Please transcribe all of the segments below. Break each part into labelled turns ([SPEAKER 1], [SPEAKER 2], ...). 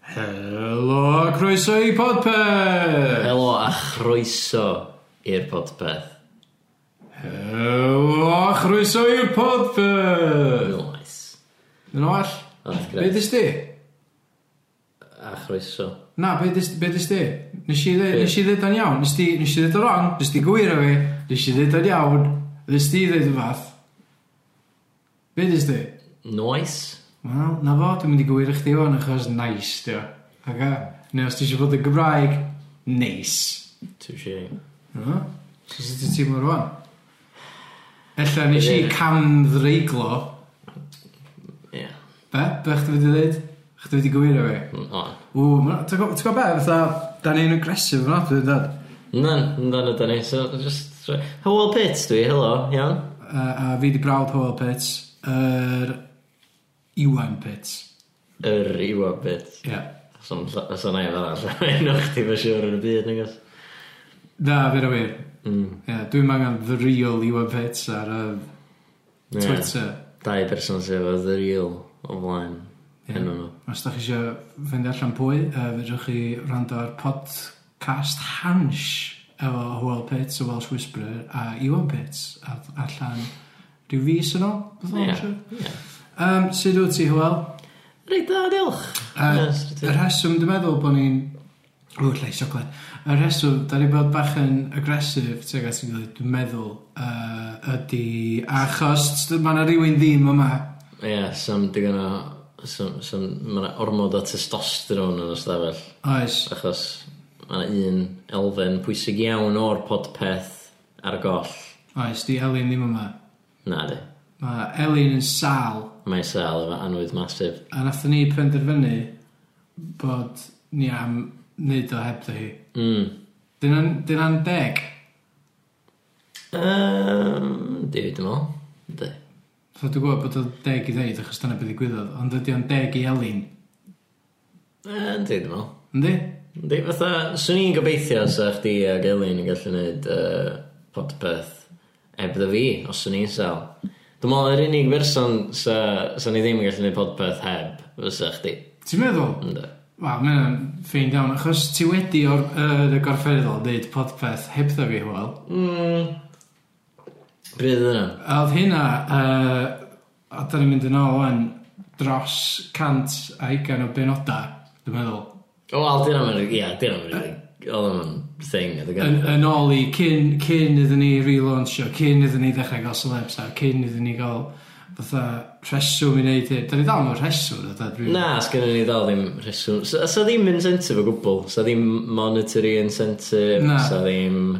[SPEAKER 1] Helo a croeso i podpeth!
[SPEAKER 2] Helo a chroeso i'r podpeth.
[SPEAKER 1] Helo a chroeso i'r podpeth!
[SPEAKER 2] Nice.
[SPEAKER 1] Yn oall?
[SPEAKER 2] Ond
[SPEAKER 1] Be
[SPEAKER 2] greit.
[SPEAKER 1] dys di?
[SPEAKER 2] A chroeso.
[SPEAKER 1] Na, be dys, be dys di? Nes i dde-
[SPEAKER 2] Be?
[SPEAKER 1] nes i ddweud o'n iawn, nes i ddweud o'n wrong, nes i gwir o fi, nes i ddweud o'n iawn, nes i ddweud yn fath. Be dys di?
[SPEAKER 2] Noes.
[SPEAKER 1] Wel, na fo, dwi'n mynd i gwir i chdi o'n achos nice, dio. Aga, neu os ti eisiau bod yn Gymraeg, nice.
[SPEAKER 2] Touché.
[SPEAKER 1] No. So sut ti'n teimlo rwan? Ella nes i
[SPEAKER 2] Ie.
[SPEAKER 1] cam ddreiglo.
[SPEAKER 2] Ie.
[SPEAKER 1] Be? Be chdi wedi dweud? Chdi wedi gywiro fi?
[SPEAKER 2] Mm, On.
[SPEAKER 1] Ww, ma- ti'n gwybod be? Fytha, da ni'n agresif yna, dwi'n dod.
[SPEAKER 2] Nan, nan yda ni. So, just... try- Hywel Pits dwi, helo, iawn.
[SPEAKER 1] A fi di brawd Howell Pits, yr Iwan Pits.
[SPEAKER 2] Yr iwa bit.
[SPEAKER 1] Ie.
[SPEAKER 2] Os o'n ei fan all. Ein o'ch ti fe siwr yn y byd, nag oes?
[SPEAKER 1] Na, fi na wir.
[SPEAKER 2] Mm.
[SPEAKER 1] Ie, dwi'n angen the real Iwan Pits ar y
[SPEAKER 2] Ie.
[SPEAKER 1] Twitter.
[SPEAKER 2] Dau person sydd efo the real o flaen.
[SPEAKER 1] Ie.
[SPEAKER 2] Enw nhw.
[SPEAKER 1] Os da chi eisiau fynd allan pwy, uh, fedrwch chi rando ar podcast Hansh efo Hwyl Pits, y Welsh Whisperer, a Iwan Pits, a allan rhyw fus yn ôl, beth o'n
[SPEAKER 2] Ie.
[SPEAKER 1] siŵr.
[SPEAKER 2] Ie.
[SPEAKER 1] Um, sut wyt ti, Hwyl?
[SPEAKER 2] Reit da, diolch.
[SPEAKER 1] Yy,
[SPEAKER 2] Yes, dwi-
[SPEAKER 1] Y rheswm, dwi'n meddwl bod ni'n... Ww, llai siocled. Y rheswm, da ni bod bach yn agresif, ti'n gael sy'n gilydd, dwi'n meddwl, uh, ydy... Achos, mae yna rhywun ddim yma.
[SPEAKER 2] Ie, yeah, sam digon o... Sam, sam, mae yna ormod o testosteron yn y stafell.
[SPEAKER 1] Oes.
[SPEAKER 2] Achos mae yna un elfen pwysig iawn o'r podpeth ar y goll.
[SPEAKER 1] Oes, di Elin ddim yma.
[SPEAKER 2] Na di.
[SPEAKER 1] Mae Elin yn sal
[SPEAKER 2] Mae sel efo anwydd masif.
[SPEAKER 1] A nath ni penderfynu bod ni am wneud o heb dy hi.
[SPEAKER 2] Mm.
[SPEAKER 1] Dyna'n deg.
[SPEAKER 2] Um, di, dim ol. Di.
[SPEAKER 1] So dwi'n gwybod bod o deg i ddeud achos dyna beth i gwyddoedd, ond ydy o'n deg i Elin.
[SPEAKER 2] Uh, di, dim ol.
[SPEAKER 1] Ynddi?
[SPEAKER 2] Di, fatha, swn i'n gobeithio sa chdi ag Elin yn gallu gwneud uh, podpeth ebdda fi, os swn i'n sel. Dwi'n meddwl, yr unig person sa, sa ni ddim yn gallu gwneud podpeth heb, fysa chdi.
[SPEAKER 1] Ti'n meddwl?
[SPEAKER 2] Ynddo.
[SPEAKER 1] Wel, mae hynna'n ffein iawn, achos ti wedi o'r yy, y gorffeddol dweud podpeth heb dda fi, wel.
[SPEAKER 2] Mm. Bryd yna.
[SPEAKER 1] A Oedd hynna, uh, a da ni'n mynd yn ôl yn dros cant a ugain o benoda, dwi'n meddwl.
[SPEAKER 2] O, al, dyna mae'n... Ia, dyna mae'n... Oedd o'n thing, oedd
[SPEAKER 1] yn,
[SPEAKER 2] o'n...
[SPEAKER 1] yn ôl i cyn, cyn iddyn ni relaunchio, cyn iddyn ni ddechrau gael celebs a cyn iddyn ni gael fatha rheswm i wneud hyn. Da ni dal mewn rheswm, da da dwi'n...
[SPEAKER 2] Na, sgynny ni dal ddim rheswm. Sa sa ddim incentive o gwbl. Sa ddim monetary incentive.
[SPEAKER 1] Na.
[SPEAKER 2] Sa ddim...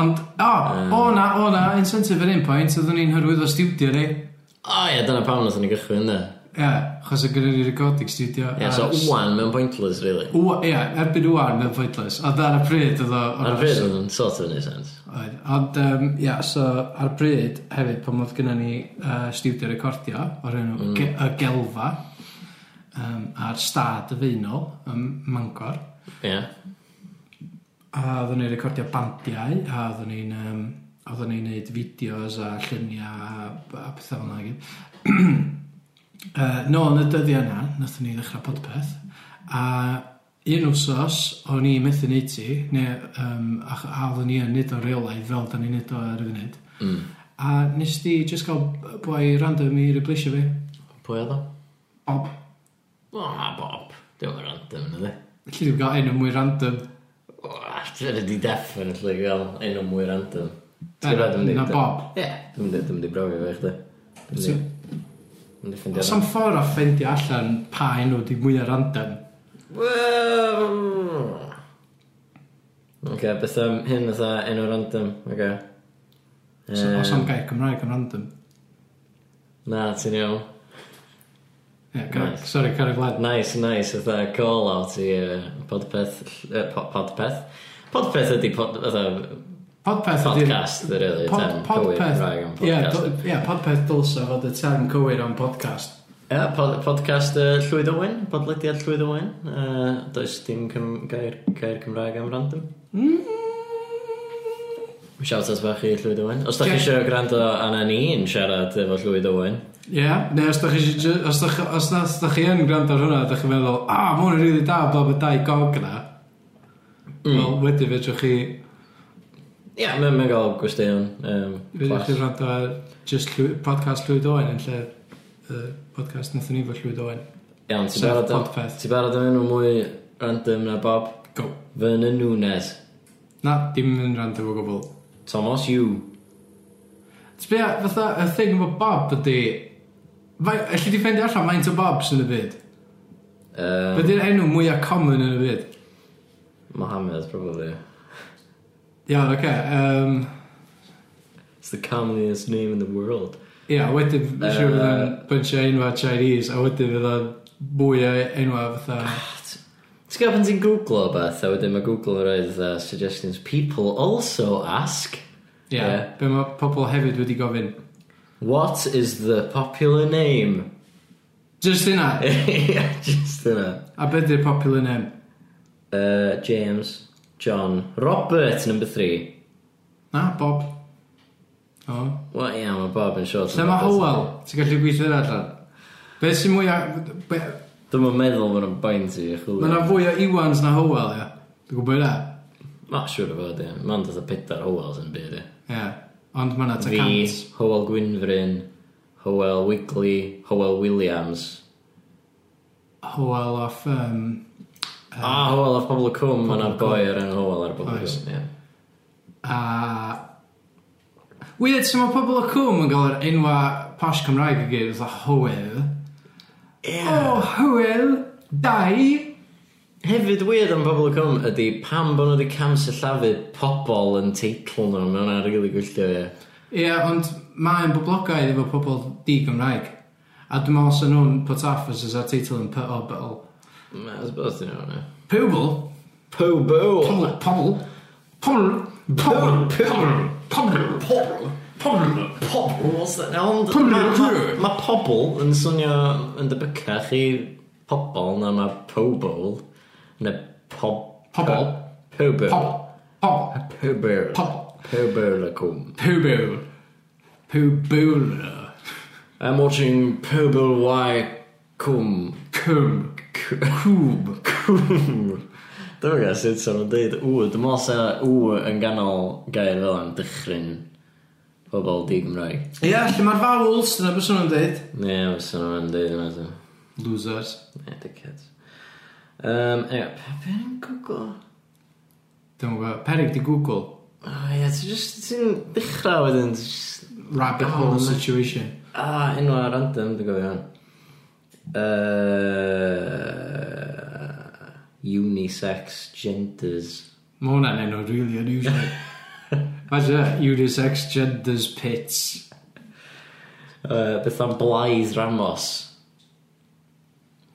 [SPEAKER 1] Ond, o, o na, o na, incentive yn un pwynt, oedden ni'n hyrwydd o studio ni.
[SPEAKER 2] O, ia, dyna pam nath ni gychwyn, da.
[SPEAKER 1] Ie, achos o gyrru ni recording studio.
[SPEAKER 2] Ia,
[SPEAKER 1] a-
[SPEAKER 2] so, wwan, mewn pointless, really.
[SPEAKER 1] Ww- Ie, erbyn wwan, mae'n pointless. Ond ar y pryd, oedd o...
[SPEAKER 2] Ar y pryd, oedd yn sort of neud sense.
[SPEAKER 1] Oedd. Ond, yym, ie, so ar y bryd hefyd, pan oedd gynnu ni uh, studio recordio o'r enw mm. y gelfa um, a'r stad y feinol ym Mangor.
[SPEAKER 2] Ia.
[SPEAKER 1] A oedden ni'n recordio bandiau, a oedden ni'n um, oedden ni'n neud fideos a lluniau a, a pethau fel yna. i gyd. Yy, Nôl yn y dyddiau yna, nathon ni ddechrau podpeth, a un wsos o'n i methu neud ti, neu um, a, a oedden ni yn nid o'r reolaidd fel da ni'n nid o ar y funud.
[SPEAKER 2] Mm.
[SPEAKER 1] A nes di just gael b- boi random i replacio fi.
[SPEAKER 2] Pwy oedd o?
[SPEAKER 1] Bob.
[SPEAKER 2] O, Bob. Dim yn random, yna, di.
[SPEAKER 1] Felly ddim gael enw mwy random.
[SPEAKER 2] O, dyna di definitely gael enw mwy random. Ti'n
[SPEAKER 1] Na,
[SPEAKER 2] gwbod, dwi'n mynd i-
[SPEAKER 1] na Bob.
[SPEAKER 2] Ie, dwi'n mynd i- dwi'n mynd i brofio fe chdi. Dwi'n
[SPEAKER 1] Ti-
[SPEAKER 2] mynd i- dwi'n mynd i ffindio
[SPEAKER 1] Os
[SPEAKER 2] hwnna.
[SPEAKER 1] am ffordd o ffendio allan pa enw di mwyaf random.
[SPEAKER 2] Wel... Oce, beth am hyn oedd enw random, oce.
[SPEAKER 1] So,
[SPEAKER 2] Yym,
[SPEAKER 1] os am gair Cymraeg yn random.
[SPEAKER 2] Na, ti'n iawn.
[SPEAKER 1] Ie, car-
[SPEAKER 2] Nice.
[SPEAKER 1] Sorry, cario glad.
[SPEAKER 2] Nice, nice, oedd call out i yy, podpeth... yy, po- Podpeth? Podpeth ydi pod... fatha
[SPEAKER 1] Podpeth ydy'r...
[SPEAKER 2] podcast, ydy really,
[SPEAKER 1] pod-
[SPEAKER 2] term cywir
[SPEAKER 1] podpeth-
[SPEAKER 2] Cymraeg
[SPEAKER 1] Ie,
[SPEAKER 2] am podcast.
[SPEAKER 1] do- ie, podpeth dylsa fod y term cywir am podcast.
[SPEAKER 2] Ie, pod- podcast yy, Llwyd Owen, podlediad Llwyd Owen. Yy, Does dim Cym- gair gair Cymraeg am random. Shout out bach i Llywyd Owen. Os da chi
[SPEAKER 1] Ie.
[SPEAKER 2] eisiau gwrando anna ni'n siarad efo Llywyd Owen.
[SPEAKER 1] Ie, neu os da chi isio jy- os da chi- os na- os da chi yn gwrando ar hwnna, da chi'n meddwl, a, ma hwn yn rili da, bob y dau gog na.
[SPEAKER 2] Mm.
[SPEAKER 1] Wel, wedyn fedrwch chi,
[SPEAKER 2] Ie, yeah, mae'n gael gwestiwn. Um,
[SPEAKER 1] fedrwch chi rando ar just llwy- podcast Llywyd Owen yn lle y podcast nathon ni fo Llywyd Owen.
[SPEAKER 2] Iawn, ti'n
[SPEAKER 1] Sef
[SPEAKER 2] barod am...
[SPEAKER 1] Podpeth.
[SPEAKER 2] Ti'n barod am enw mwy random na Bob?
[SPEAKER 1] Go.
[SPEAKER 2] Fyna Nunes.
[SPEAKER 1] Na, dim yn rando fo gwbl.
[SPEAKER 2] Thomas Yw.
[SPEAKER 1] Sbia, fatha, y thing efo Bob ydi, fai- alli di ffeindio allan faint o Bobs yn y byd?
[SPEAKER 2] Uh,
[SPEAKER 1] Be di'r enw mwyaf common yn y byd?
[SPEAKER 2] Mohammed, probably.
[SPEAKER 1] Iawn, oce. yym,
[SPEAKER 2] It's the commonest name in the world.
[SPEAKER 1] Ie, wedyn
[SPEAKER 2] Yy.
[SPEAKER 1] siwr fydd yn bunch o enwa Chinese, a wedyn fydd yn mwy o enwa fatha...
[SPEAKER 2] Ti'n gael pan ti'n googlo beth, a wedyn mae Google yn rhaid uh, suggestions. People also ask,
[SPEAKER 1] Ie,
[SPEAKER 2] Ie.
[SPEAKER 1] be mae pobl hefyd wedi gofyn.
[SPEAKER 2] what is the popular name?
[SPEAKER 1] Just yna,
[SPEAKER 2] yeah, just yna.
[SPEAKER 1] a be di'r popular name?
[SPEAKER 2] Uh, James, John, Robert, number three.
[SPEAKER 1] Na, Bob. O.
[SPEAKER 2] Wel, ie, yeah, mae Bob yn short.
[SPEAKER 1] Lle mae Howell? Ti'n gallu gweithio hynna allan? Be sy'n mwy o... Be...
[SPEAKER 2] Dwi'n meddwl bod yn baint i,
[SPEAKER 1] Mae
[SPEAKER 2] chwilio.
[SPEAKER 1] yna fwy o Iwans na Howell, ie. Dwi'n gwybod hynna?
[SPEAKER 2] Ma, siwr o fod, ie. Mae'n dod o pedar Howells yn byd, ie.
[SPEAKER 1] Ie. Ond mae yna ta
[SPEAKER 2] Fi,
[SPEAKER 1] cant.
[SPEAKER 2] Howell Gwynfryn, Howell Wigley, Howell Williams.
[SPEAKER 1] Howell off... Um,
[SPEAKER 2] Ah, Howell o'r pobl y cwm, mae'n ar boi ar enw Howell ar pobl y
[SPEAKER 1] Oes.
[SPEAKER 2] cwm, ie.
[SPEAKER 1] a... Weird, so mae pobl o cwm yn gael yr enwa posh Cymraeg i gyd, fatha Howell.
[SPEAKER 2] Ie.
[SPEAKER 1] O, Hywel, dau.
[SPEAKER 2] Hefyd weird am pobl y cwm ydy pam bod nhw wedi camsillafu pobl yn teitl nhw, mae hwnna'n rili gwylltio, ie.
[SPEAKER 1] Ie, ond mae'n boblogaidd efo pobl di-Gymraeg. A dwi'n meddwl sy'n nhw'n put off os oes ar teitl yn P-O-B-L.
[SPEAKER 2] Mae'n sbos ti'n iawn, ie.
[SPEAKER 1] Pobl?
[SPEAKER 2] Pobl!
[SPEAKER 1] Pobl? Pobl? Pobl? Pobl? Pobl? Pobl?
[SPEAKER 2] Pobl!
[SPEAKER 1] Pobl?
[SPEAKER 2] Pobl! What's that? Ond
[SPEAKER 1] Pobl,
[SPEAKER 2] ma- ma-
[SPEAKER 1] ie.
[SPEAKER 2] ma' pobl yn swnio yn debycach i pobl na mae pobl neu pob...
[SPEAKER 1] Pobl.
[SPEAKER 2] Pobl.
[SPEAKER 1] Pobl? Pobl?
[SPEAKER 2] Pobl.
[SPEAKER 1] Pobl?
[SPEAKER 2] Pobl y cwm.
[SPEAKER 1] Pobl? Pobl?
[SPEAKER 2] I'm watching Pobl Y Cwm.
[SPEAKER 1] Cwm. Cwb.
[SPEAKER 2] Cwm. Dwi'n gael sut sa'n nhw'n dweud w. Dwi'n meddwl sa w yn ganol gair fel yn dychryn pobl di Gymraeg.
[SPEAKER 1] Ie, lle mae'r vowels, dyna beth nhw'n dweud.
[SPEAKER 2] Ne, sa'n nhw'n dweud yna. so.
[SPEAKER 1] Losers.
[SPEAKER 2] Ne, dickheads. Um, e, pa beth yn Google?
[SPEAKER 1] Dwi'n gwybod, perig di Google.
[SPEAKER 2] O oh, ie, ti'n just, ti'n dechrau wedyn, ti'n just...
[SPEAKER 1] Rabbit hole situation.
[SPEAKER 2] Ah, enwa random, dwi'n gofio hwn. Uh, unisex genders.
[SPEAKER 1] Mae hwnna'n enw really unusual. Imagine unisex genders pits.
[SPEAKER 2] Uh, beth am Blythe Ramos?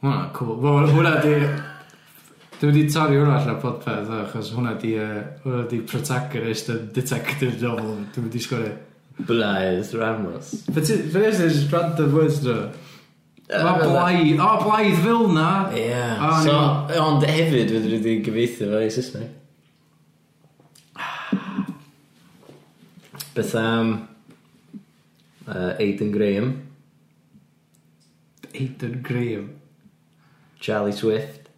[SPEAKER 1] Ma Hwnna'n cool. Ma Hwnna di... Dwi wedi torri hwnna allan o podpeth, ddo, achos hwnna di, uh, hwnna di protagonist yn detective novel. Dwi wedi sgori.
[SPEAKER 2] Blythe Ramos.
[SPEAKER 1] Fe nes i'n random words nhw? O, blaidd. O, blaidd fel na.
[SPEAKER 2] Ie.
[SPEAKER 1] O,
[SPEAKER 2] So,
[SPEAKER 1] o'n
[SPEAKER 2] ond hefyd fydd wedi gyfeithio fo i Saesneg. Beth am... Uh, Aidan Graham,
[SPEAKER 1] Aidan Graham.
[SPEAKER 2] Charlie Swift.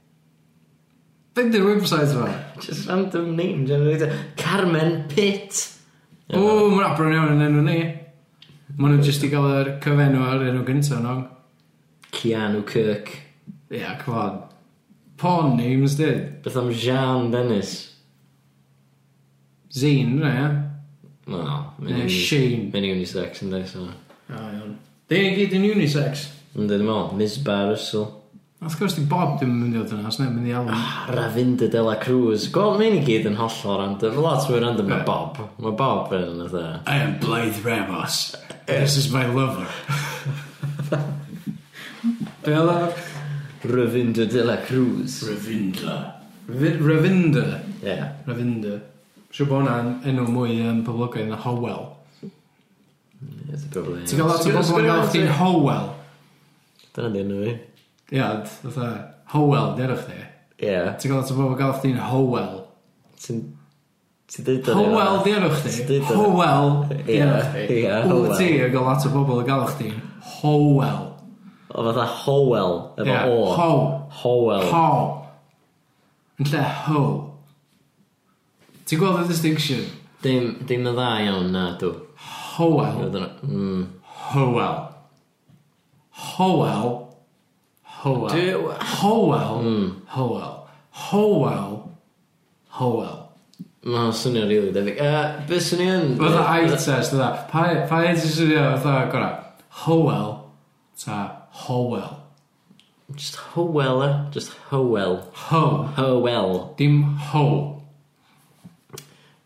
[SPEAKER 1] Be di'r website yma?
[SPEAKER 2] Just random name generator. Carmen Pitt.
[SPEAKER 1] O, mae'n abron iawn yn enw ni. Maen nhw jyst i gael yr cyfenw ar enw gyntaf, nong.
[SPEAKER 2] Keanu Kirk.
[SPEAKER 1] Ie, yeah, come on. Porn names, did.
[SPEAKER 2] Beth am Jean Dennis.
[SPEAKER 1] Zine, yna, ie?
[SPEAKER 2] Wel,
[SPEAKER 1] Neu
[SPEAKER 2] mynd
[SPEAKER 1] Shane.
[SPEAKER 2] unisex yn dweud.
[SPEAKER 1] O, iawn. Dyn ni gyd yn unisex.
[SPEAKER 2] Yn dweud ymol, Miss Bar Russell.
[SPEAKER 1] Wrth gwrs di Bob dim yn mynd i oedd yna, os neb yn mynd i alw.
[SPEAKER 2] Ravinda de la Cruz. Gwel, mae'n i gyd yn hollol random. Lot mwy random na
[SPEAKER 1] Ie.
[SPEAKER 2] Bob. Mae Bob yn yna.
[SPEAKER 1] I am Blythe Ramos. This is my lover. Bella
[SPEAKER 2] Ravinda de la Cruz.
[SPEAKER 1] Ravinda. Ravinda.
[SPEAKER 2] Ie.
[SPEAKER 1] Ravinda. Siw bod hwnna'n enw mwy um, poblogaidd na Howell.
[SPEAKER 2] It's probably...
[SPEAKER 1] Ti'n gael lot o bobl yn gael chdi'n Howell.
[SPEAKER 2] Dyna di enw fi.
[SPEAKER 1] Ie, ond fatha, Howell, derwch chi.
[SPEAKER 2] Ie.
[SPEAKER 1] Ti'n gael lot o bobl yn gael chdi'n Howell.
[SPEAKER 2] Ti'n... Ti dweud o'n
[SPEAKER 1] Howell
[SPEAKER 2] efo-
[SPEAKER 1] di enw
[SPEAKER 2] Ti
[SPEAKER 1] chdi.
[SPEAKER 2] deud o-
[SPEAKER 1] Howell di
[SPEAKER 2] Ie,
[SPEAKER 1] enw chdi.
[SPEAKER 2] ie,
[SPEAKER 1] Wyt ti
[SPEAKER 2] Howell.
[SPEAKER 1] yn gael lot o bobl yn galw chdi. Howell.
[SPEAKER 2] O fatha Howell, efo
[SPEAKER 1] Ie,
[SPEAKER 2] O.
[SPEAKER 1] How.
[SPEAKER 2] Howell.
[SPEAKER 1] How. Yn lle how. Ti'n gweld y distinction?
[SPEAKER 2] Dim, dim yn dda iawn, na, dw.
[SPEAKER 1] Howell.
[SPEAKER 2] Roedd yna- Mm.
[SPEAKER 1] Howell. Howell. Howell.
[SPEAKER 2] Dwi- Hmm.
[SPEAKER 1] Howell. Howell. Howell. Howell.
[SPEAKER 2] Mae'n swnio rili debyg. Uh, Be swn i yn...
[SPEAKER 1] Fatha eye test, fatha. Pa e- pa hyn sy'n swnio fatha gora? Howell. Ta Howell.
[SPEAKER 2] Just Howell, e? Just Howell.
[SPEAKER 1] Ho.
[SPEAKER 2] Howell.
[SPEAKER 1] Dim ho.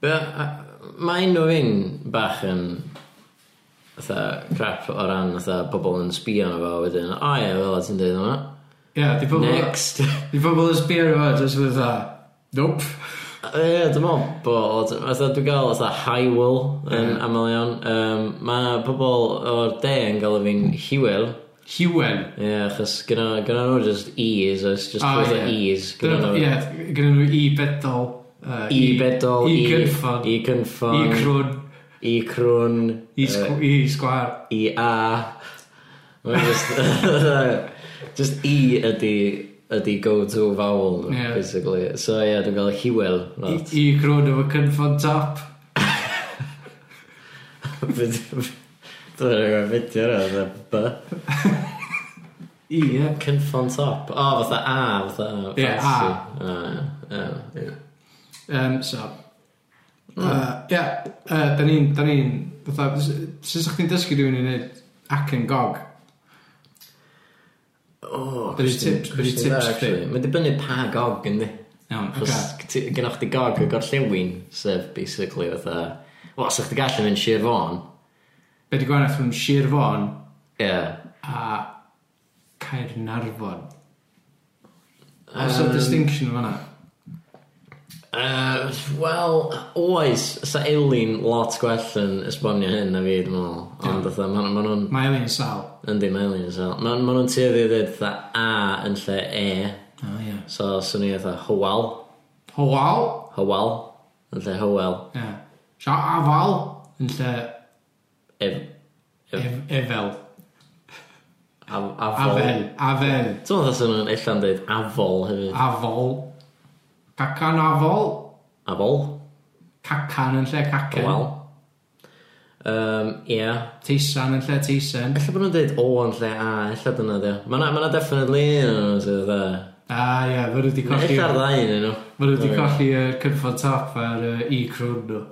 [SPEAKER 2] Be, a- mae unrhyw un bach yn fatha crap o ran fatha pobl yn sbio arno fo wedyn. O ie, fel o ti'n dweud hwnna.
[SPEAKER 1] Ie, yeah, di pobl...
[SPEAKER 2] Next.
[SPEAKER 1] Di pobl yn sbio ar yma, jyst fydd dda. Nope.
[SPEAKER 2] Ie, dwi'n meddwl bod... Fatha dwi'n gael fatha Highwell yn aml iawn. Um, mae pobl o'r de yn gael fi'n Hywel.
[SPEAKER 1] Hewen.
[SPEAKER 2] Ie, achos gyda gyda nhw just E's, oes just
[SPEAKER 1] Ah,
[SPEAKER 2] ah,
[SPEAKER 1] ie.
[SPEAKER 2] E's. Gyda nhw.
[SPEAKER 1] Ie, gyda nhw i bedol. yy,
[SPEAKER 2] I bedol,
[SPEAKER 1] I gynffon.
[SPEAKER 2] I
[SPEAKER 1] I
[SPEAKER 2] gynffon,
[SPEAKER 1] crwn.
[SPEAKER 2] i crwn,
[SPEAKER 1] I sgw- i sgwar.
[SPEAKER 2] i a. Mae'n just, just i ydi, ydi go-to vowel, nhw,
[SPEAKER 1] Ie.
[SPEAKER 2] basically. So ie, yeah, dwi'n gael hiwel.
[SPEAKER 1] I i crwn efo cynffon top.
[SPEAKER 2] Dwi'n gael fideo ar b.
[SPEAKER 1] I, ie.
[SPEAKER 2] Cynffon top. O, fatha a, fatha
[SPEAKER 1] Ie, a.
[SPEAKER 2] fancy. A, ie, ie.
[SPEAKER 1] Um, so. Uh, Ie, yy, da ni'n, da ni'n, fatha, s- sut sa'ch chi'n dysgu rhywun i wneud ac yn gog?
[SPEAKER 2] O,
[SPEAKER 1] Be' 'di
[SPEAKER 2] cwestiwn-
[SPEAKER 1] tips- be' 'di
[SPEAKER 2] cwestiwn
[SPEAKER 1] tips
[SPEAKER 2] dda, actually. Mae'n dibynnu pa gog yndi.
[SPEAKER 1] Iawn,
[SPEAKER 2] Achos ti- gennych chdi gog y gorllewin, sef basically fatha... Wel, sa'ch chdi gallu mynd Sir Fôn.
[SPEAKER 1] Be di gwahaneth rhwng Sir Fôn
[SPEAKER 2] Ie.
[SPEAKER 1] a Caernarfon. Oes um,
[SPEAKER 2] Yym,
[SPEAKER 1] distinction yma na?
[SPEAKER 2] Yy, Wel, oes, sa Elin lot gwell yn esbonio hyn na fi, dwi'n meddwl.
[SPEAKER 1] Hmm.
[SPEAKER 2] Ond fatha, ma' nhw- ma' nhw'n...
[SPEAKER 1] Mae Elin Sal.
[SPEAKER 2] Yndi, mae Elin yn sel. Ma' ma' nhw'n tueddu i ddweud fatha A yn lle E.
[SPEAKER 1] O, oh, ie.
[SPEAKER 2] So, swn i fatha Howell.
[SPEAKER 1] Howal.
[SPEAKER 2] Howell. Yn lle Howell.
[SPEAKER 1] Ie. Sia Afal yn lle
[SPEAKER 2] Ef... Ef...
[SPEAKER 1] ef Efel.
[SPEAKER 2] Af- Afol.
[SPEAKER 1] Afel. Afel.
[SPEAKER 2] Dwi'n meddwl sy'n nhw'n ella'n dweud afol hefyd.
[SPEAKER 1] Afol. Cacan Afol.
[SPEAKER 2] Afol?
[SPEAKER 1] Cacan yn lle cacan.
[SPEAKER 2] Wel. Um, ie.
[SPEAKER 1] Teisan yn lle teisan.
[SPEAKER 2] Ella bod nhw'n dweud o yn lle a, ella dyna ddio. Mae'na ma 'na definitely un o'n nhw sydd dda.
[SPEAKER 1] A ie, fe rwy'n di colli...
[SPEAKER 2] Ella'r ddau un nhw.
[SPEAKER 1] Fe rwy'n di colli y cynffon top a'r yy, i crwn nhw.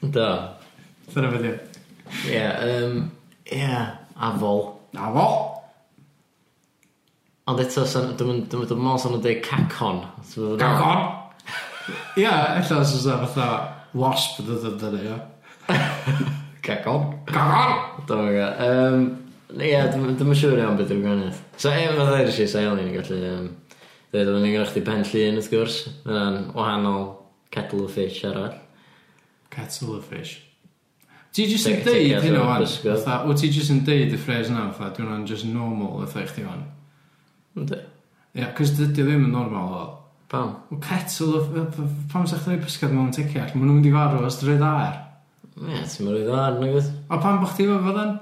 [SPEAKER 2] Do.
[SPEAKER 1] Dyna fe di.
[SPEAKER 2] Ie. Um, ie. Afol.
[SPEAKER 1] Afol.
[SPEAKER 2] Ond eto, sa'n- dwi'm yn- dwi'm- dwi'n meddwl sy'n nhw'n dweud cacon. Ti'n meddwl?
[SPEAKER 1] Gagon! Ie, ella os ydw fatha wasp yn dod yn ie.
[SPEAKER 2] Cacon.
[SPEAKER 1] Gagon!
[SPEAKER 2] Dwi'n meddwl. Um, ie, dwi'n yn siŵr iawn beth yw'r gwahaniaeth. So, e, mae ddair eisiau sael ni'n gallu... Um, Dweud o'n i'n gynnwch chi pen llun, wrth gwrs. Mae'n wahanol kettle of fish arall.
[SPEAKER 1] Kettle of fish. Ti jyst yn
[SPEAKER 2] Take- take
[SPEAKER 1] deud
[SPEAKER 2] out
[SPEAKER 1] hynna
[SPEAKER 2] the
[SPEAKER 1] o'n,
[SPEAKER 2] biscuit.
[SPEAKER 1] fatha, o ti jyst yn deud y ffres yna, fatha, dwi'n o'n just normal, fatha, i chdi o'n.
[SPEAKER 2] Ynddi.
[SPEAKER 1] Ie, yeah, cys dydy o ddim yn normal o.
[SPEAKER 2] Pam?
[SPEAKER 1] O kettle of, yy, p- pam sa'ch chi'n bisgad mewn ticiach, maen nhw'n mynd i farw os drwy ddair.
[SPEAKER 2] Ie, ti'n mynd i ddod arno gwrs.
[SPEAKER 1] A er. pam bych ti efo fod yn?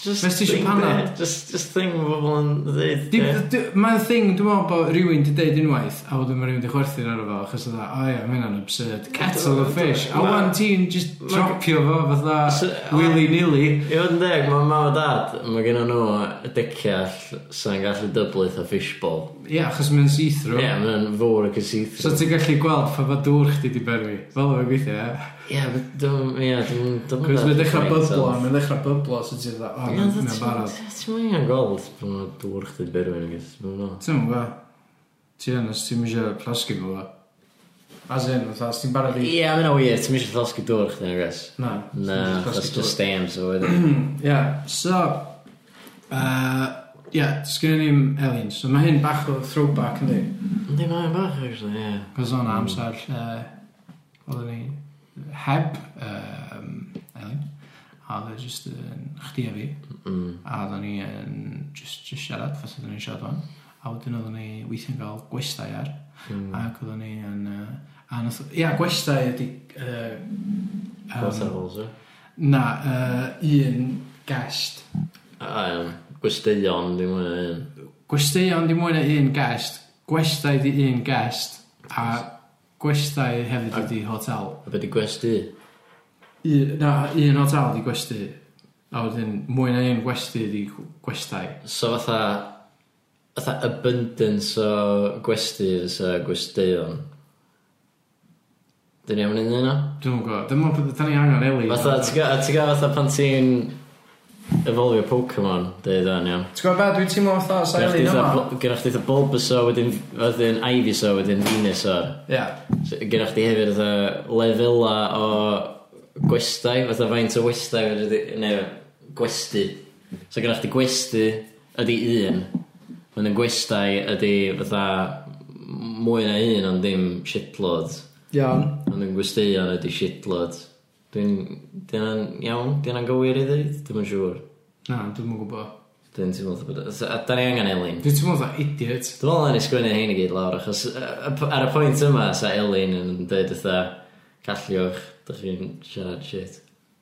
[SPEAKER 2] Just
[SPEAKER 1] Nes ti isio
[SPEAKER 2] thing
[SPEAKER 1] panad?
[SPEAKER 2] be- Just, just thing mae bobl yn ddeud.
[SPEAKER 1] Di-
[SPEAKER 2] ie.
[SPEAKER 1] di- Mae'n thing, dwi'n meddwl bod rhywun di deud unwaith, a wedyn mae rhywun di chwerthu'n ar efo, achos oedd, o ie, mae hynna'n absurd. Kettle of fish. A
[SPEAKER 2] Ma-
[SPEAKER 1] wan ti'n just
[SPEAKER 2] ma-
[SPEAKER 1] dropio fo, fatha,
[SPEAKER 2] S- a-
[SPEAKER 1] willy-nilly.
[SPEAKER 2] I fod yn deg, mae mam a dad, mae gen nhw y diciall sy'n gallu dyblyth o fishbowl.
[SPEAKER 1] Ie, achos mae'n
[SPEAKER 2] Ie,
[SPEAKER 1] see-through.
[SPEAKER 2] mae'n fawr ac yn see-through.
[SPEAKER 1] So ti'n gallu gweld pa fa dŵr chdi di berwi. Fel o'n gweithio, ie?
[SPEAKER 2] Ie, but dwi'n... Ie, dwi'n... Dwi'n
[SPEAKER 1] Cos mae'n dechrau byblo, mae'n dechrau byblo, so ti'n dda, o,
[SPEAKER 2] Ie,
[SPEAKER 1] mae'n barod.
[SPEAKER 2] Ti'n mynd i'n gold pan mae'n dŵr chdi berwyn yn gys.
[SPEAKER 1] Ti'n mwyn gwybod? Ti yn, os ti'n mysio plasgu fo fo. As in, fatha, os ti'n barod i...
[SPEAKER 2] Ie, mae'n o ie, ti'n mynd i'n llosgu dŵr chdi yn gys.
[SPEAKER 1] Na.
[SPEAKER 2] Na,
[SPEAKER 1] ti'n plasgu
[SPEAKER 2] that's just
[SPEAKER 1] dŵr.
[SPEAKER 2] stamps o wedyn.
[SPEAKER 1] Ie, so... yy, Ie, sgynny ni'n Elin. So mae hyn bach o throwback yn di.
[SPEAKER 2] Yndi, mae'n bach, actually, ie.
[SPEAKER 1] Cos o'n amser lle... Oedden ni heb um, Elin. A oedd e jyst yn chdi a fi.
[SPEAKER 2] Mm.
[SPEAKER 1] A oedden ni yn just, just siarad, fath oedden ni'n siarad fan. A wedyn oedden ni weithio'n cael gwestai ar.
[SPEAKER 2] Mm.
[SPEAKER 1] Ac oedden ni yn... Uh, A nath, ia, gwestai ydi... Uh,
[SPEAKER 2] Both levels, e?
[SPEAKER 1] na, uh, un gest.
[SPEAKER 2] A, um, gwesteion, dim ond un.
[SPEAKER 1] Gwesteion di mwy na un gest. Gwestai di un gest. A gwestai hefyd ydi hotel.
[SPEAKER 2] A beth i gwesti?
[SPEAKER 1] Un, na, un hotel di gwesti. A wedyn, mwy na un gwesti di gwestai.
[SPEAKER 2] So fatha, fatha abundance o gwesti fysa gwesteion. Dyn ni am wneud yna?
[SPEAKER 1] Dwi'n mwyn gwybod. Dyma beth da ni angen eli.
[SPEAKER 2] Fatha, ti'n ga- ti'n gael fatha pan ti'n efolio Pokemon, dweud o'n iawn.
[SPEAKER 1] Ti'n gwybod beth dwi'n teimlo fatha sa
[SPEAKER 2] Gynna
[SPEAKER 1] eli
[SPEAKER 2] chdi
[SPEAKER 1] yma?
[SPEAKER 2] fatha- Gynna chdi fatha Bulbasaur, wedyn, wedyn Ivysaur, wedyn Venusaur.
[SPEAKER 1] Ia.
[SPEAKER 2] So, Gynna chdi hefyd fatha lefela o gwestai, fatha faint o westai, fedri di- neu gwesti. So gynna chdi gwesti ydi un, wedyn gwestai ydi fatha mwy na un ond dim shitload.
[SPEAKER 1] Iawn.
[SPEAKER 2] Ond yn gwesteion ydi shitload. Dwi'n... Dwi'n iawn? Dwi'n gywir i ddweud? Dwi'n yn siŵr.
[SPEAKER 1] Na, dwi'n mwyn gwybod.
[SPEAKER 2] Dwi'n teimlo fatha bod... A da ni angen Elin.
[SPEAKER 1] Dwi'n teimlo fatha idiot.
[SPEAKER 2] Dwi'n meddwl ni sgwynnu hyn i gyd lawr, achos yy, y- ar y pwynt yma, sa Elin yn dweud ytha, calliwch, dych chi'n siarad shit.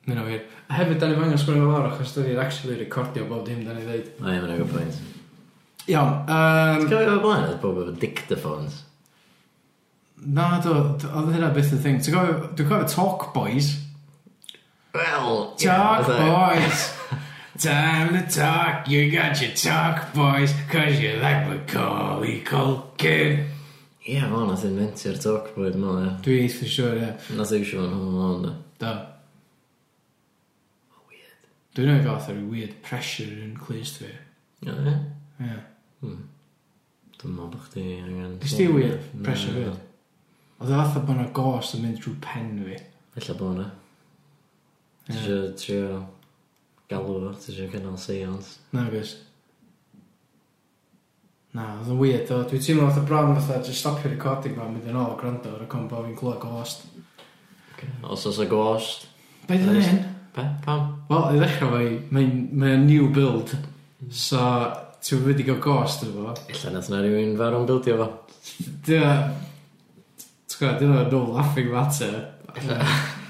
[SPEAKER 1] Nid o wir. A hefyd, da ni'n angen sgwrdd o'r achos da ni'n actually recordio bob dim da ni'n ddeud.
[SPEAKER 2] O ie, mae'n agor pwynt.
[SPEAKER 1] Iawn.
[SPEAKER 2] Ti'n
[SPEAKER 1] Um,
[SPEAKER 2] gofio o'r blaen, oedd pobl efo dictaphones.
[SPEAKER 1] na, do, do- oedd hynna beth y thing. Ti'n gofio, dwi'n cofio Talk Boys.
[SPEAKER 2] Wel, ie, e.
[SPEAKER 1] Talk
[SPEAKER 2] fatha-
[SPEAKER 1] Boys. Time to talk, you got your talk boys, cause you like Macaulay Culkin.
[SPEAKER 2] Ie, fo, nath inventio'r talk boy, dwi'n meddwl, ie.
[SPEAKER 1] Dwi eitha siwr, ie.
[SPEAKER 2] Nath eisiau fo'n hwnnw ond, ie.
[SPEAKER 1] Do. Dwi'n ei gael thyrru weird pressure yn clust fi.
[SPEAKER 2] Ie, ie.
[SPEAKER 1] Ie.
[SPEAKER 2] Dwi'n meddwl bod chdi angen...
[SPEAKER 1] Nes di weird pressure
[SPEAKER 2] Na,
[SPEAKER 1] fi? Oedd o fatha bod yna gos yn mynd drwy pen fi.
[SPEAKER 2] Ella bod hwnna. Ti
[SPEAKER 1] Ie.
[SPEAKER 2] eisiau trio galw fo, ti eisiau cynnal seance.
[SPEAKER 1] Nagos. Na, oedd yn weird o. Dwi'n teimlo fatha bron fatha just stopio recording ma, mynd yn ôl gwrando ar y combo fi'n clywed ghost.
[SPEAKER 2] Os oes y ghost.
[SPEAKER 1] Be ddyn
[SPEAKER 2] Nice.
[SPEAKER 1] hyn?
[SPEAKER 2] Pe? Pam?
[SPEAKER 1] Wel, i ddechrau fo, mae'n mae o'n new build. So, ti'n wedi gael ghost yn fo.
[SPEAKER 2] Ella nath na rhywun farw'n bildio fo.
[SPEAKER 1] Dyna... Ti'n gwybod, dyna no laughing matter.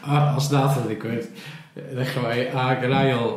[SPEAKER 1] A- Os nath o ddigwydd, i ddechrau fo, ac yn ail...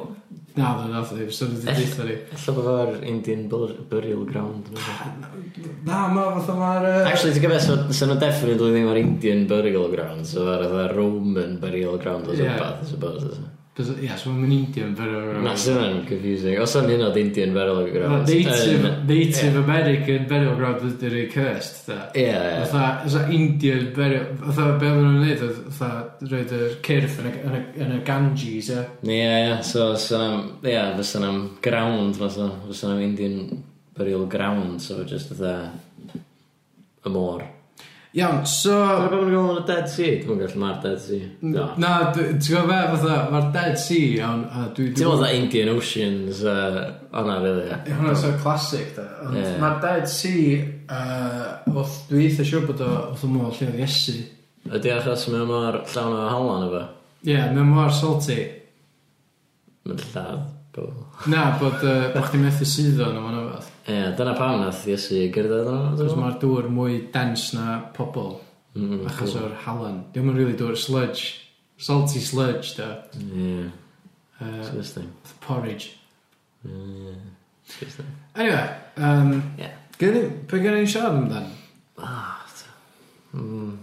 [SPEAKER 1] Na, dda nath o ddim, so dwi'n dweud ni.
[SPEAKER 2] Ella bod fo'r Indian bur burial ground. neu rywbeth.
[SPEAKER 1] Na, ma, fatha ma'r... yy,
[SPEAKER 2] Actually, ti'n gyfes, sy'n nhw definitely ddim o'r Indian burial ground, so fo'r fatha Roman burial ground o
[SPEAKER 1] Ie.
[SPEAKER 2] rhywbeth, I suppose.
[SPEAKER 1] Bys- Ie, so mae'n Indian, pero...
[SPEAKER 2] Na, sy'n nhw'n confusing. Os o'n hyn o'r Indian burial
[SPEAKER 1] Well,
[SPEAKER 2] ground.
[SPEAKER 1] Native,
[SPEAKER 2] yym,
[SPEAKER 1] Native American burial ground ydy'r ei cursed, da.
[SPEAKER 2] Ie, ie.
[SPEAKER 1] Fatha, fatha Indian burial, fatha be oedden nhw'n neud, oedd fatha roed yr cyrff yn y, yn y, yn y Ganges, e.
[SPEAKER 2] Ie, ie, so sy'n am, ie, fysa'n am ground, fysa'n fysa am Indian burial ground, so just ytha y môr.
[SPEAKER 1] Iawn, so...
[SPEAKER 2] Mae'n gwybod yn gael yn y Dead Sea, Mm. dwi'n gallu ma'r Dead Sea. Do.
[SPEAKER 1] Na, dw- ti'n gwybod be, fatha, mae'r Dead Sea, iawn, a dwi...
[SPEAKER 2] Ti'n meddwl dda Indian Oceans, uh, o'na fili, ie.
[SPEAKER 1] Hwna sy'n classic, da. Ond
[SPEAKER 2] Ie.
[SPEAKER 1] mae'r Dead Sea, uh, oedd dwi eitha siŵr bod o, oedd o mor lle oedd Iesu.
[SPEAKER 2] Ydy achos mae mor llawn o halan efo.
[SPEAKER 1] Ie, mae'n mor salty.
[SPEAKER 2] Mae'n lladd pobl.
[SPEAKER 1] Na, bod, uh, bod chdi methu suddo nhw, mae'n fath.
[SPEAKER 2] Ie, dyna pam nath Iesu gyrda yno.
[SPEAKER 1] Cos mae'r dŵr mwy dens na pobl
[SPEAKER 2] Mm,
[SPEAKER 1] achos o'r halen. Diolch yn really dŵr sludge. Salty sludge, da.
[SPEAKER 2] Ie,
[SPEAKER 1] Uh,
[SPEAKER 2] disgusting.
[SPEAKER 1] porridge.
[SPEAKER 2] Ie, disgusting.
[SPEAKER 1] Anyway, um,
[SPEAKER 2] Ie.
[SPEAKER 1] yeah. pe gen i'n siarad amdan?
[SPEAKER 2] Ah, t- mm.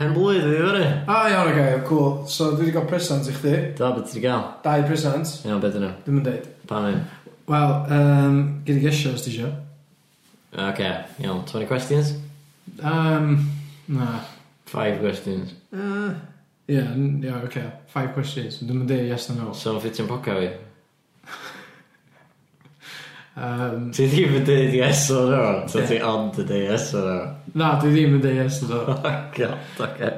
[SPEAKER 2] Pen blwydd ydi fyny.
[SPEAKER 1] Ah, iawn, oce, okay, cool. So, dwi wedi cael presant i chdi.
[SPEAKER 2] Da, beth ti 'di gael?
[SPEAKER 1] Dau presant.
[SPEAKER 2] Iawn, beth yna?
[SPEAKER 1] Dwi'n mynd deud.
[SPEAKER 2] Pan un?
[SPEAKER 1] Wel, um, gyda gesio os ti isio.
[SPEAKER 2] Oce, iawn. 20 questions?
[SPEAKER 1] Um, na.
[SPEAKER 2] 5 questions.
[SPEAKER 1] Uh, Ie, yeah, yeah, oce. Okay. Five questions. Dwi'n mynd deud yes na no.
[SPEAKER 2] So, fit yn poca fi?
[SPEAKER 1] Um,
[SPEAKER 2] Ti ddim yn dweud yes o no. So,
[SPEAKER 1] Ie.
[SPEAKER 2] ti ond yn dweud yes o no.
[SPEAKER 1] na, dwi ddim yn deud yes na no.
[SPEAKER 2] Oh, God, oce.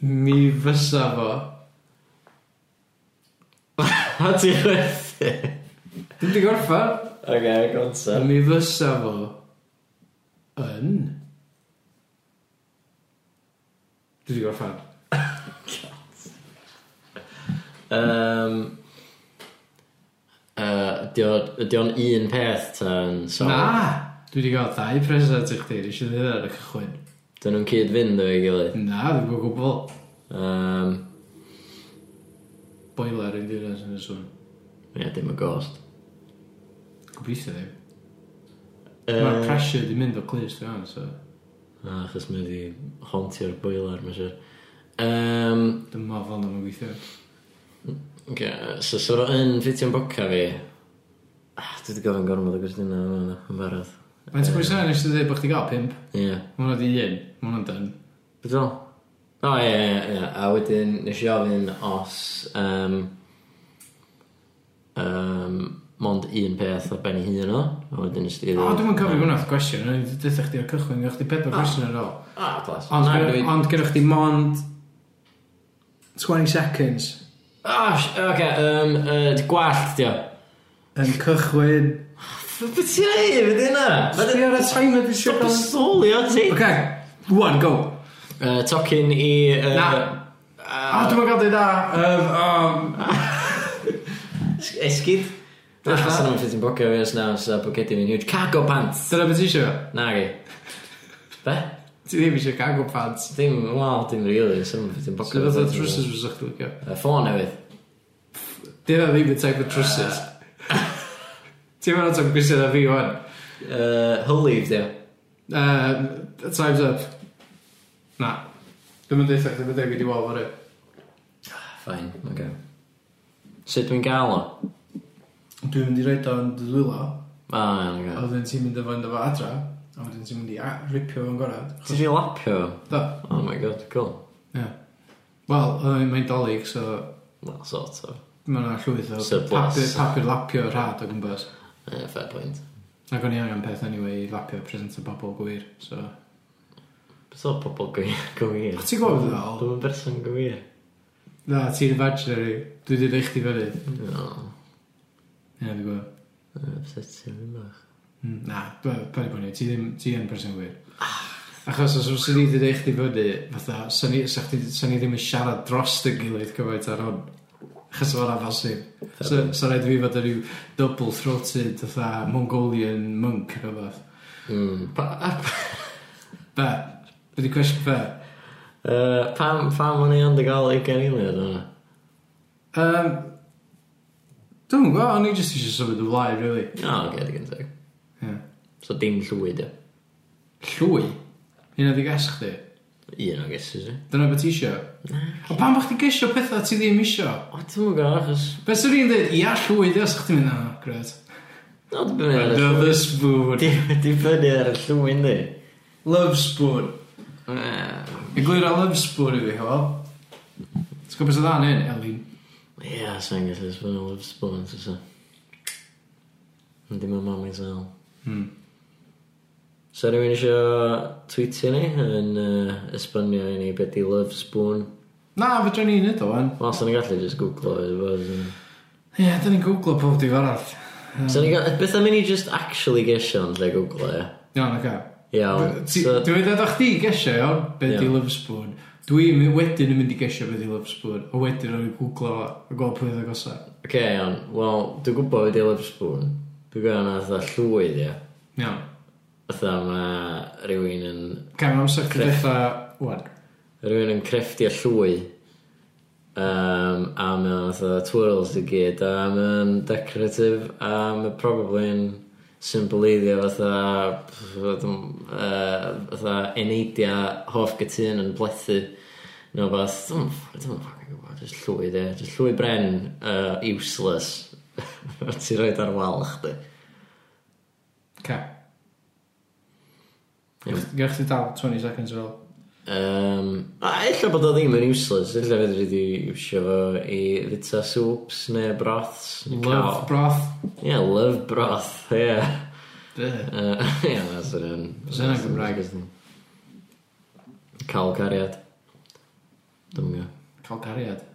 [SPEAKER 1] Mi fysa fo.
[SPEAKER 2] A ti chwerthu?
[SPEAKER 1] Dim di gorffan.
[SPEAKER 2] Oce, gonsa.
[SPEAKER 1] Mi fysa fo yn... Dwi di gorffan.
[SPEAKER 2] Um, uh, ydy o'n un peth ta'n song?
[SPEAKER 1] Na! Dwi wedi cael dau present i chdi, dwi eisiau dweud ar y cychwyn.
[SPEAKER 2] Dyn nhw'n cyd fynd efo'i gilydd.
[SPEAKER 1] Na, dwi'n gwybod gwbl.
[SPEAKER 2] Um,
[SPEAKER 1] Boiler yn ddinas yn y swn.
[SPEAKER 2] Ie, dim y ghost.
[SPEAKER 1] Gobeithio ddim. Mae'r
[SPEAKER 2] Uh,
[SPEAKER 1] pressure di mynd o clis, dwi'n iawn, so
[SPEAKER 2] achos mae wedi hontio'r boiler, mae'n siŵr. Um,
[SPEAKER 1] dyma fel na mae'n gweithio.
[SPEAKER 2] Oce, so sy'n rhaid yn ffitio'n boca fi. Ah, Dwi wedi gofyn gormod o gwestiynau yma yna, yn barod.
[SPEAKER 1] Mae'n ti'n gwybod nes i ddweud bod chdi gael pimp.
[SPEAKER 2] Ie. Yeah.
[SPEAKER 1] Mae hwnna di un, mae hwnna'n dyn.
[SPEAKER 2] Beth fel? O, ie, ie, ie. A wedyn, nes i ofyn os... Um, um, mond un peth ar ben ei hun o. A wedyn nes i...
[SPEAKER 1] O, dwi'n cofio hwnna'n gwestiwn, o'n i'n dweud chdi o'r cychwyn, gyda chdi pedwar gwestiwn ar ôl.
[SPEAKER 2] Ah, plas.
[SPEAKER 1] Ond
[SPEAKER 2] Na,
[SPEAKER 1] gyda-
[SPEAKER 2] dwi-
[SPEAKER 1] Ond gyda chdi mond 20 seconds
[SPEAKER 2] Ah, sh- oce, yym, yy, gwallt, dio.
[SPEAKER 1] yn cychwyn.
[SPEAKER 2] Beth ti'n ei, beth yna? Beth
[SPEAKER 1] Sbio ar y timer dwi'n siŵr.
[SPEAKER 2] Stop y soli o ti!
[SPEAKER 1] Ok, one, go.
[SPEAKER 2] Yy, Tocyn i... yy,
[SPEAKER 1] Na. A dwi'n gael dweud da.
[SPEAKER 2] Es- Esgid? Na,
[SPEAKER 1] Fatha-
[SPEAKER 2] sa'n nhw'n ffitio'n bocio fi os na, os na bwgedi fi'n huge. Cago pants!
[SPEAKER 1] Dyna beth eisiau.
[SPEAKER 2] Na gi. Be?
[SPEAKER 1] Ti ddim eisiau gago pants.
[SPEAKER 2] Dim, wel, dim really, sa'n nhw'n ffitio'n
[SPEAKER 1] So
[SPEAKER 2] bocio
[SPEAKER 1] fath o trwsus fes o'ch dwi'n gael.
[SPEAKER 2] Y ffôn newydd.
[SPEAKER 1] Dyna ddim yn teg o trwsus. Ti'n meddwl am gwestiwn a fi o'n.
[SPEAKER 2] Uh, Hylif, dio.
[SPEAKER 1] Time's up. Na. Dwi'n mynd eithaf, dwi'n mynd eithaf wedi wal fory.
[SPEAKER 2] Fain, oce. Sut dwi'n gael o?
[SPEAKER 1] Dwi'n mynd i roed o'n dwylo.
[SPEAKER 2] A, iawn, oce.
[SPEAKER 1] A wedyn ti'n mynd efo yn efo adra, a wedyn ti'n mynd i a- ripio fo'n gorau.
[SPEAKER 2] Ti'n rhi lapio?
[SPEAKER 1] Do,
[SPEAKER 2] Oh my god, cool.
[SPEAKER 1] ie. Wel, yy, mae'n dolyg, so
[SPEAKER 2] Well, sort of.
[SPEAKER 1] mae yna llwyth o
[SPEAKER 2] Surplus.
[SPEAKER 1] papur, papur lapio rhad o gwmpas.
[SPEAKER 2] Uh, fair point.
[SPEAKER 1] Ac o'n i angen peth anyway i lapio present o bobl gwir, so...
[SPEAKER 2] Beth o pobl gwy- gwir?
[SPEAKER 1] A ti'n gwybod beth ddol?
[SPEAKER 2] Dwi'n berson gwir.
[SPEAKER 1] Na, ti'n imaginary. Dwi wedi ddeich ti fyny. Ie,
[SPEAKER 2] No.
[SPEAKER 1] dwi'n gwybod.
[SPEAKER 2] Upset ti'n hynach.
[SPEAKER 1] Mm, Na, pa di bwni, ti ddim, ti yn person gwir. Achos os wnes i ni wedi ddeich ti fyny, fatha, sa'n ni, sa chdi- 'san ni ddim yn siarad dros dy gilydd cyfaint ar hwn. Achos fo'n afosib. So, so rhaid i fi fod yn rhyw double-throated, fatha Mongolian monk neu fath.
[SPEAKER 2] Mm. Pa, a-
[SPEAKER 1] Be? Be di cwestiwn be?
[SPEAKER 2] Yy, pam, pam o'n i ond y gael 20 milion yna?
[SPEAKER 1] Um, Dwi'n gwybod, o'n i jyst eisiau symud y flaen, really.
[SPEAKER 2] O, gyd i gynteg.
[SPEAKER 1] Yeah.
[SPEAKER 2] So dim llwyd, ie.
[SPEAKER 1] Llwy? Hynna di gas chdi?
[SPEAKER 2] Un o gysi, si.
[SPEAKER 1] Dyna beth ti isio? A pam bach ti gesio pethau ti ddim isio?
[SPEAKER 2] O, ti'n mwyn gael, achos...
[SPEAKER 1] Be sy'n ni'n dweud, ia llwy, di os chdi'n mynd, na, gred.
[SPEAKER 2] O, di bynnu ar y llwyd.
[SPEAKER 1] Another spoon.
[SPEAKER 2] Di bynnu ar y llwyd, di.
[SPEAKER 1] Love spoon. Eglwyr a love spoon i fi, hefo. Ti'n gwybod beth sy'n dda yn hyn, Elin?
[SPEAKER 2] Ie, sa'n gallu sbwyn o love spoons, oes o. Yndi mae mam i'n sael.
[SPEAKER 1] Hmm.
[SPEAKER 2] So rhywun eisiau tweetio ni yn uh, esbonio i ni beth i love spoon.
[SPEAKER 1] Na, fedra ni'n neud o, wan.
[SPEAKER 2] Wel, sa'n ni'n gallu just googlo i fod.
[SPEAKER 1] Ie, yeah, da ni'n googlo pob di farall.
[SPEAKER 2] Sa'n ni'n gallu... Beth am i ni just actually gesio yn lle googlo, ie.
[SPEAKER 1] Iawn, oce.
[SPEAKER 2] Iawn.
[SPEAKER 1] Ti-
[SPEAKER 2] so-
[SPEAKER 1] Dwi'n meddwl chdi gesio, iawn, beth di
[SPEAKER 2] Iawn.
[SPEAKER 1] Love Spoon. Dwi'n my- wedyn yn mynd i gesio beth di Love Spoon, a wedyn o'n i'n googlo a gweld pwy oedd agosa.
[SPEAKER 2] Ok, iawn. Wel, dwi'n gwybod beth ydy'r spoon. Dwi'n gwybod yna fatha llwyd, ia.
[SPEAKER 1] Iawn.
[SPEAKER 2] Fatha mae rhywun yn...
[SPEAKER 1] Cam amser chdi
[SPEAKER 2] Creff.
[SPEAKER 1] ddechrau, wan.
[SPEAKER 2] Rhywun yn creffdio llwyd. Um, a mae o'n fatha twirls i gyd. A mae o'n decorative. A mae probably yn symboleiddio fatha... pff, dwi'm- yy, Fatha eneidia hoff gytun yn blethu. No, fath... Dwi'n dwi'n fucking gwybod. Just llwyd, ia. Just llwyd bren uh, useless. Ti'n rhoi ar wal chdi.
[SPEAKER 1] Ca.
[SPEAKER 2] Iawn.
[SPEAKER 1] Gwch chi dal 20 seconds ar ôl.
[SPEAKER 2] Um, a ella bod o ddim yn useless, ella fydd wedi iwsio fo i fita soups neu broths. neu
[SPEAKER 1] Love
[SPEAKER 2] caw.
[SPEAKER 1] broth.
[SPEAKER 2] Ie, yeah, love broth, ie. Yeah.
[SPEAKER 1] Be?
[SPEAKER 2] Uh, ie, yeah, that's it.
[SPEAKER 1] Fysa hynna'n Gymraeg?
[SPEAKER 2] Cael cariad. Dwi'n gwybod.
[SPEAKER 1] Cael cariad.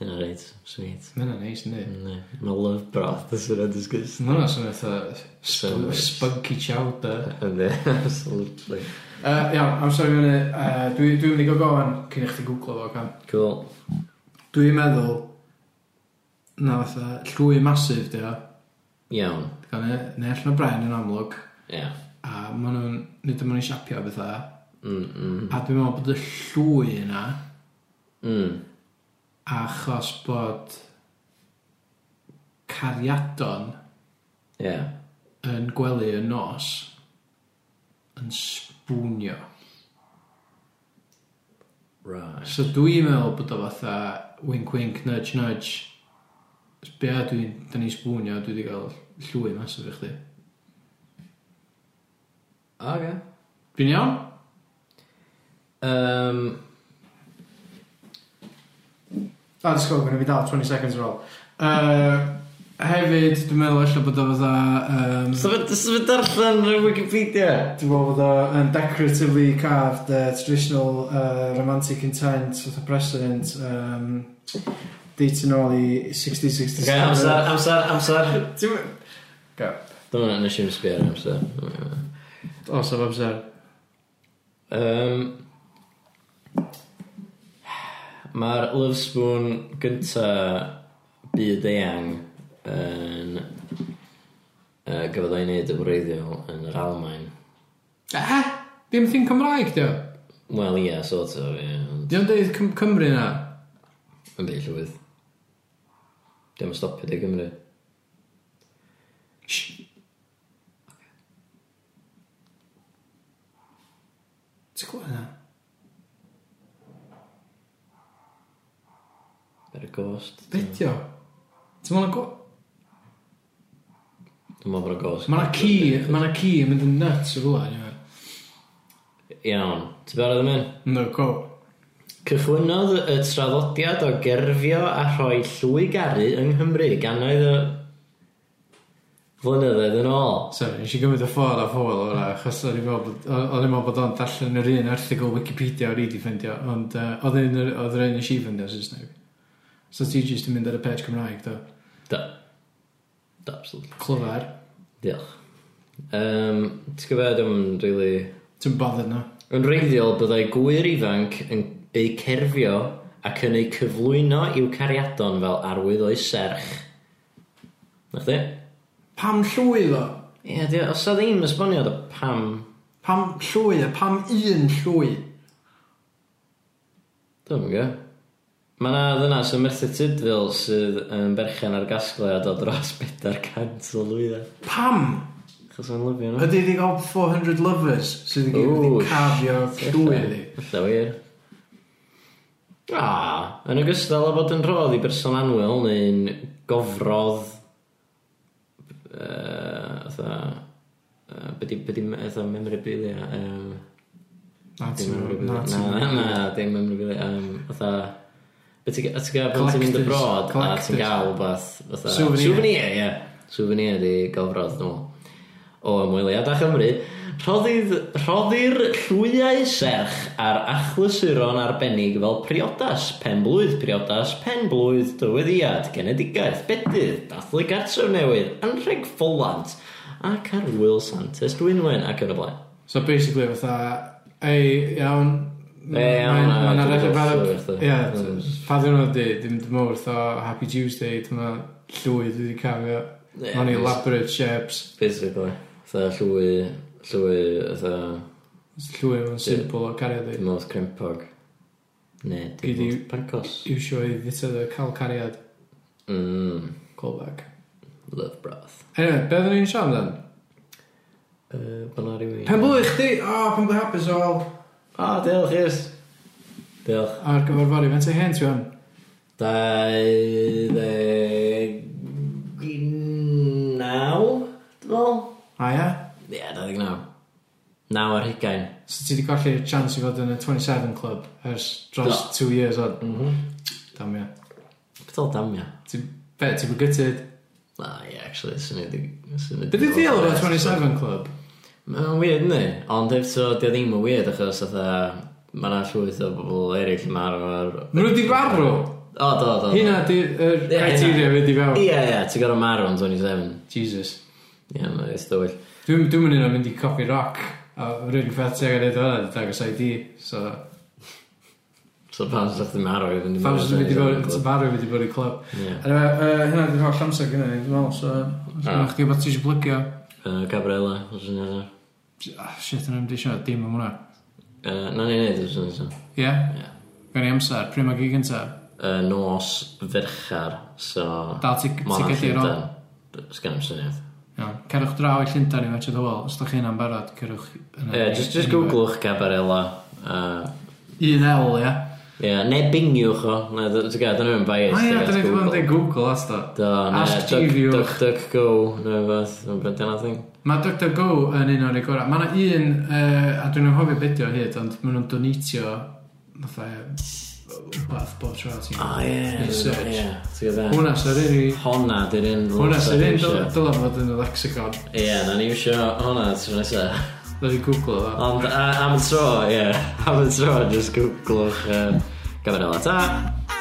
[SPEAKER 2] Ie, yeah, reit, sweet.
[SPEAKER 1] Mae hynna'n neis, ynddi?
[SPEAKER 2] Ne, mae love broth, that's it, that's good.
[SPEAKER 1] Mae hwnna'n swnio eitha sp-
[SPEAKER 2] Sandwich.
[SPEAKER 1] spunky chowder.
[SPEAKER 2] Ynddi, absolutely.
[SPEAKER 1] Uh, iawn, amser i fyny. Uh, dwi- Dwi'n mynd i go gofyn cyn i chdi googlo fo, cam.
[SPEAKER 2] Cool.
[SPEAKER 1] Dwi'n meddwl na fatha llwy masif, dio.
[SPEAKER 2] iawn.
[SPEAKER 1] Gael ne- nell na Brian yn amlwg.
[SPEAKER 2] Ia.
[SPEAKER 1] A maen nhw'n... Nid yma nhw'n siapio a bethau.
[SPEAKER 2] Mm, mm,
[SPEAKER 1] A dwi'n meddwl bod y llwy yna
[SPEAKER 2] mm.
[SPEAKER 1] achos bod cariadon
[SPEAKER 2] Ia.
[SPEAKER 1] yn gwely y nos yn sbwnio.
[SPEAKER 2] Right.
[SPEAKER 1] So dwi'n meddwl bod o fatha wink wink, nudge nudge. Be a dwi'n... Da ni'n sbwnio, dwi wedi cael llwy mas o fi chdi.
[SPEAKER 2] Okay.
[SPEAKER 1] Dwi'n iawn?
[SPEAKER 2] Um,
[SPEAKER 1] A dwi'n sgol, gwneud fi dal 20 seconds ar ôl. Uh, hefyd, dwi'n meddwl allan bod o fatha... Um,
[SPEAKER 2] so fe so fe darllen ar Wikipedia?
[SPEAKER 1] Dwi'n meddwl bod o yn decoratively carved uh, traditional uh, romantic intent with a precedent um, dating nôl i 1667.
[SPEAKER 2] Ok, amser, amser, amser.
[SPEAKER 1] Ti'n meddwl... Go.
[SPEAKER 2] Dyma na nes i'n sbio ar amser.
[SPEAKER 1] Os o'r amser.
[SPEAKER 2] Um, Mae'r Love Spoon gynta byd eang yn uh, gyfod o'i wneud y wreiddiol yn yr Almain.
[SPEAKER 1] Eh? Dim thing Cymraeg, dio.
[SPEAKER 2] Wel, ia, sort of, ie. ond
[SPEAKER 1] Dio'n deud Cym Cymru na.
[SPEAKER 2] Yn byd llwyth. Dim yn stopio di Gymru.
[SPEAKER 1] Ti'n gwybod na?
[SPEAKER 2] Better ghost.
[SPEAKER 1] Be dio? Ti'n meddwl na go...
[SPEAKER 2] Dwi'n meddwl bod y ghost.
[SPEAKER 1] Mae na ci, mae na ci yn mynd yn nuts o fwyla, anyway.
[SPEAKER 2] Iawn. Ti'n barod am hyn?
[SPEAKER 1] No, go.
[SPEAKER 2] Cychwynodd y traddodiad o gerfio a rhoi llwy garu yng Nghymru gannoedd o flynyddoedd yn ôl.
[SPEAKER 1] Sorry, nes i gymryd y ffordd a ffordd o'r achos o'n i'n meddwl bod- o- o'n i'n meddwl bod o'n darllen yr un erthigol Wikipedia o'r i di ffeindio, ond yy, oedd un yr- oedd yr un nes i ffeindio Saesneg. So ti jyst yn mynd ar y page Cymraeg, do.
[SPEAKER 2] Da. Da, absolutely.
[SPEAKER 1] Clyfar.
[SPEAKER 2] Diolch. Um, Ti'n gwybod am really...
[SPEAKER 1] Ti'n bothered na?
[SPEAKER 2] Yn reiddiol byddai gwyr ifanc yn ei cerfio ac yn ei cyflwyno i'w cariadon fel arwydd o'i serch. Na chdi?
[SPEAKER 1] Pam llwy, ddo?
[SPEAKER 2] Ie, yeah, os a ddim esboniad o pam...
[SPEAKER 1] Pam llwy, a pam un llwy?
[SPEAKER 2] Dwi'n gwybod. Mae yna ddynas yn Merthyr Tydfil sydd yn berchen ar gasgliad o dros 400 o lwyddau.
[SPEAKER 1] Pam?
[SPEAKER 2] Chos mae'n lyfio nhw.
[SPEAKER 1] Ydy wedi cael 400 lovers sydd wedi
[SPEAKER 2] Ooh,
[SPEAKER 1] wedi cafio llwy iddi.
[SPEAKER 2] Alla wir. Ah, yn ogystal â bod yn rhodd i berson anwyl neu'n gofrodd uh, atha uh, byddi, byddi, atha memorabilia um,
[SPEAKER 1] Na, ti'n meddwl-
[SPEAKER 2] na,
[SPEAKER 1] na, ti'n meddwl.
[SPEAKER 2] na, dim memorabilia um, atha beth ti'n gael pan ti'n
[SPEAKER 1] Collectors,
[SPEAKER 2] mynd abroad a
[SPEAKER 1] collectors.
[SPEAKER 2] ti'n gael wbath fatha-
[SPEAKER 1] Souvenir.
[SPEAKER 2] souvenir ie souvenir di gofrodd nhw o ymwyliad a Chymru Rhoddydd, rhoddir llwyau serch ar achlysuron arbennig fel priodas, penblwydd, priodas, penblwydd, dyweddiad, genedigaeth, bedydd, dathlu gartref newydd, anrheg ffolant, ac arwyl Santes Dwynwen ac yn y blaen.
[SPEAKER 1] So basically fatha, ei, iawn,
[SPEAKER 2] Ei,
[SPEAKER 1] mae'n
[SPEAKER 2] iawn, a dwi'n
[SPEAKER 1] arall yn
[SPEAKER 2] gweld
[SPEAKER 1] barod.
[SPEAKER 2] llwyr chdi.
[SPEAKER 1] Ie,
[SPEAKER 2] Mm.
[SPEAKER 1] pa ddyn nhw di, dim dim wrth o Happy Tuesday, dyma llwy dwi wedi cafio.
[SPEAKER 2] Ie,
[SPEAKER 1] Mae'n i
[SPEAKER 2] yes.
[SPEAKER 1] elaborate shapes,
[SPEAKER 2] Basically. Tha llwy, llwy, tha,
[SPEAKER 1] llwy yn simple o cariad i.
[SPEAKER 2] dim oedd crimpog. Ne,
[SPEAKER 1] Gei
[SPEAKER 2] dim
[SPEAKER 1] di-
[SPEAKER 2] oedd pancos.
[SPEAKER 1] Iwsio i ddita dda cael cariad,
[SPEAKER 2] Mm,
[SPEAKER 1] callback.
[SPEAKER 2] love broth.
[SPEAKER 1] Anyway, be ddyn ni'n siarad dan?
[SPEAKER 2] Uh, Byna rhywun.
[SPEAKER 1] Pen blwy chdi? O, pen blwy hapus o.
[SPEAKER 2] O, diolch, yes. Diolch.
[SPEAKER 1] Ar gyfer fori, fe'n te hen ti fan.
[SPEAKER 2] Dau ddeg naw, dwi'n meddwl?
[SPEAKER 1] A ia?
[SPEAKER 2] Ie, dau ddeg naw. Naw ar hugain.
[SPEAKER 1] So ti wedi golli'r chance i fod yn y 27 Club ers dros
[SPEAKER 2] Do.
[SPEAKER 1] 2 years o'n.
[SPEAKER 2] Mhm.
[SPEAKER 1] Damn ia.
[SPEAKER 2] Beth oedd damio?
[SPEAKER 1] Ti- Be, ti'n bygytyd?
[SPEAKER 2] Na, ie, actually, sy'n ei... Be
[SPEAKER 1] Be di deal efo 27 Club?
[SPEAKER 2] Mae'n weird ni, ond efo dio ddim yn weird achos oedd Mae yna llwyth o bobl eraill yn marw ar...
[SPEAKER 1] Ma' nhw 'di farw?
[SPEAKER 2] O, do, do. do.
[SPEAKER 1] Hynna di, yr
[SPEAKER 2] Ie,
[SPEAKER 1] criteria fynd i fewn.
[SPEAKER 2] Ie, ie, ti'n gorau marw yn 27.
[SPEAKER 1] Jesus.
[SPEAKER 2] Ie, mae'n eithaf dywyll.
[SPEAKER 1] Dwi'n dwi'n mynd i'n mynd i copi rock. A rydyn ffet sy'n gwneud hwnna, dwi'n dangos ID. So,
[SPEAKER 2] So pan sy'n chdi marw i fynd i
[SPEAKER 1] fawr sy'n mynd i fod,
[SPEAKER 2] mewn
[SPEAKER 1] ti'n barw mynd i fod i clwb.
[SPEAKER 2] Ie.
[SPEAKER 1] Anyway, yy, hynna di'n holl amser gyda ni, dwi'n meddwl, so... Dwi'n chdi bod ti eisiau blygio.
[SPEAKER 2] Uh, Gabriela, os yn edrych.
[SPEAKER 1] Ah, Shit, yna wedi siarad dim am hwnna.
[SPEAKER 2] Uh, na ni'n neud os yn edrych.
[SPEAKER 1] Ie?
[SPEAKER 2] Ie.
[SPEAKER 1] Gawn ni amser, pryd mae gig gyntaf?
[SPEAKER 2] Uh, nos ferchar, so...
[SPEAKER 1] Dal ti-
[SPEAKER 2] Ma' hwnna'n
[SPEAKER 1] ti gellu
[SPEAKER 2] Llundain. D- Sgan i'm syniad.
[SPEAKER 1] Iawn. Cerwch draw i Llundain i Fetchard Hywel. Os da chi'n am barod, cerwch... yna.
[SPEAKER 2] Ie, just, just googlwch Gabriela. Uh,
[SPEAKER 1] Un L, ie?
[SPEAKER 2] Ie, neu bingiwch o. Na, dy- ti'n gael, dyn nhw'n bias.
[SPEAKER 1] O Ah, ie, dyn ni'n gwybod yn Google, as da.
[SPEAKER 2] Do, ne,
[SPEAKER 1] Ask Jeeves.
[SPEAKER 2] duck, duck, go, neu fath, neu beth dyna thing.
[SPEAKER 1] Mae DuckDuckGo yn un o'r gorau. Mae yna un, uh, a dwi'n anghofio beth o hyd, ond maen nhw'n donatio fatha wbath bob tro ti'n...
[SPEAKER 2] O, ie,
[SPEAKER 1] Research.
[SPEAKER 2] ie, ti'n gael
[SPEAKER 1] Hwna sy'n rili...
[SPEAKER 2] Honna, dyn nhw'n...
[SPEAKER 1] Hwna sy'n rili dyla fod yn y lexicon.
[SPEAKER 2] Ie, na ni eisiau honna, ti'n nesaf.
[SPEAKER 1] Dwi'n Google o.
[SPEAKER 2] Ond a- am y tro, ie, am y tro, just googlwch uh, Gabriela. Ta!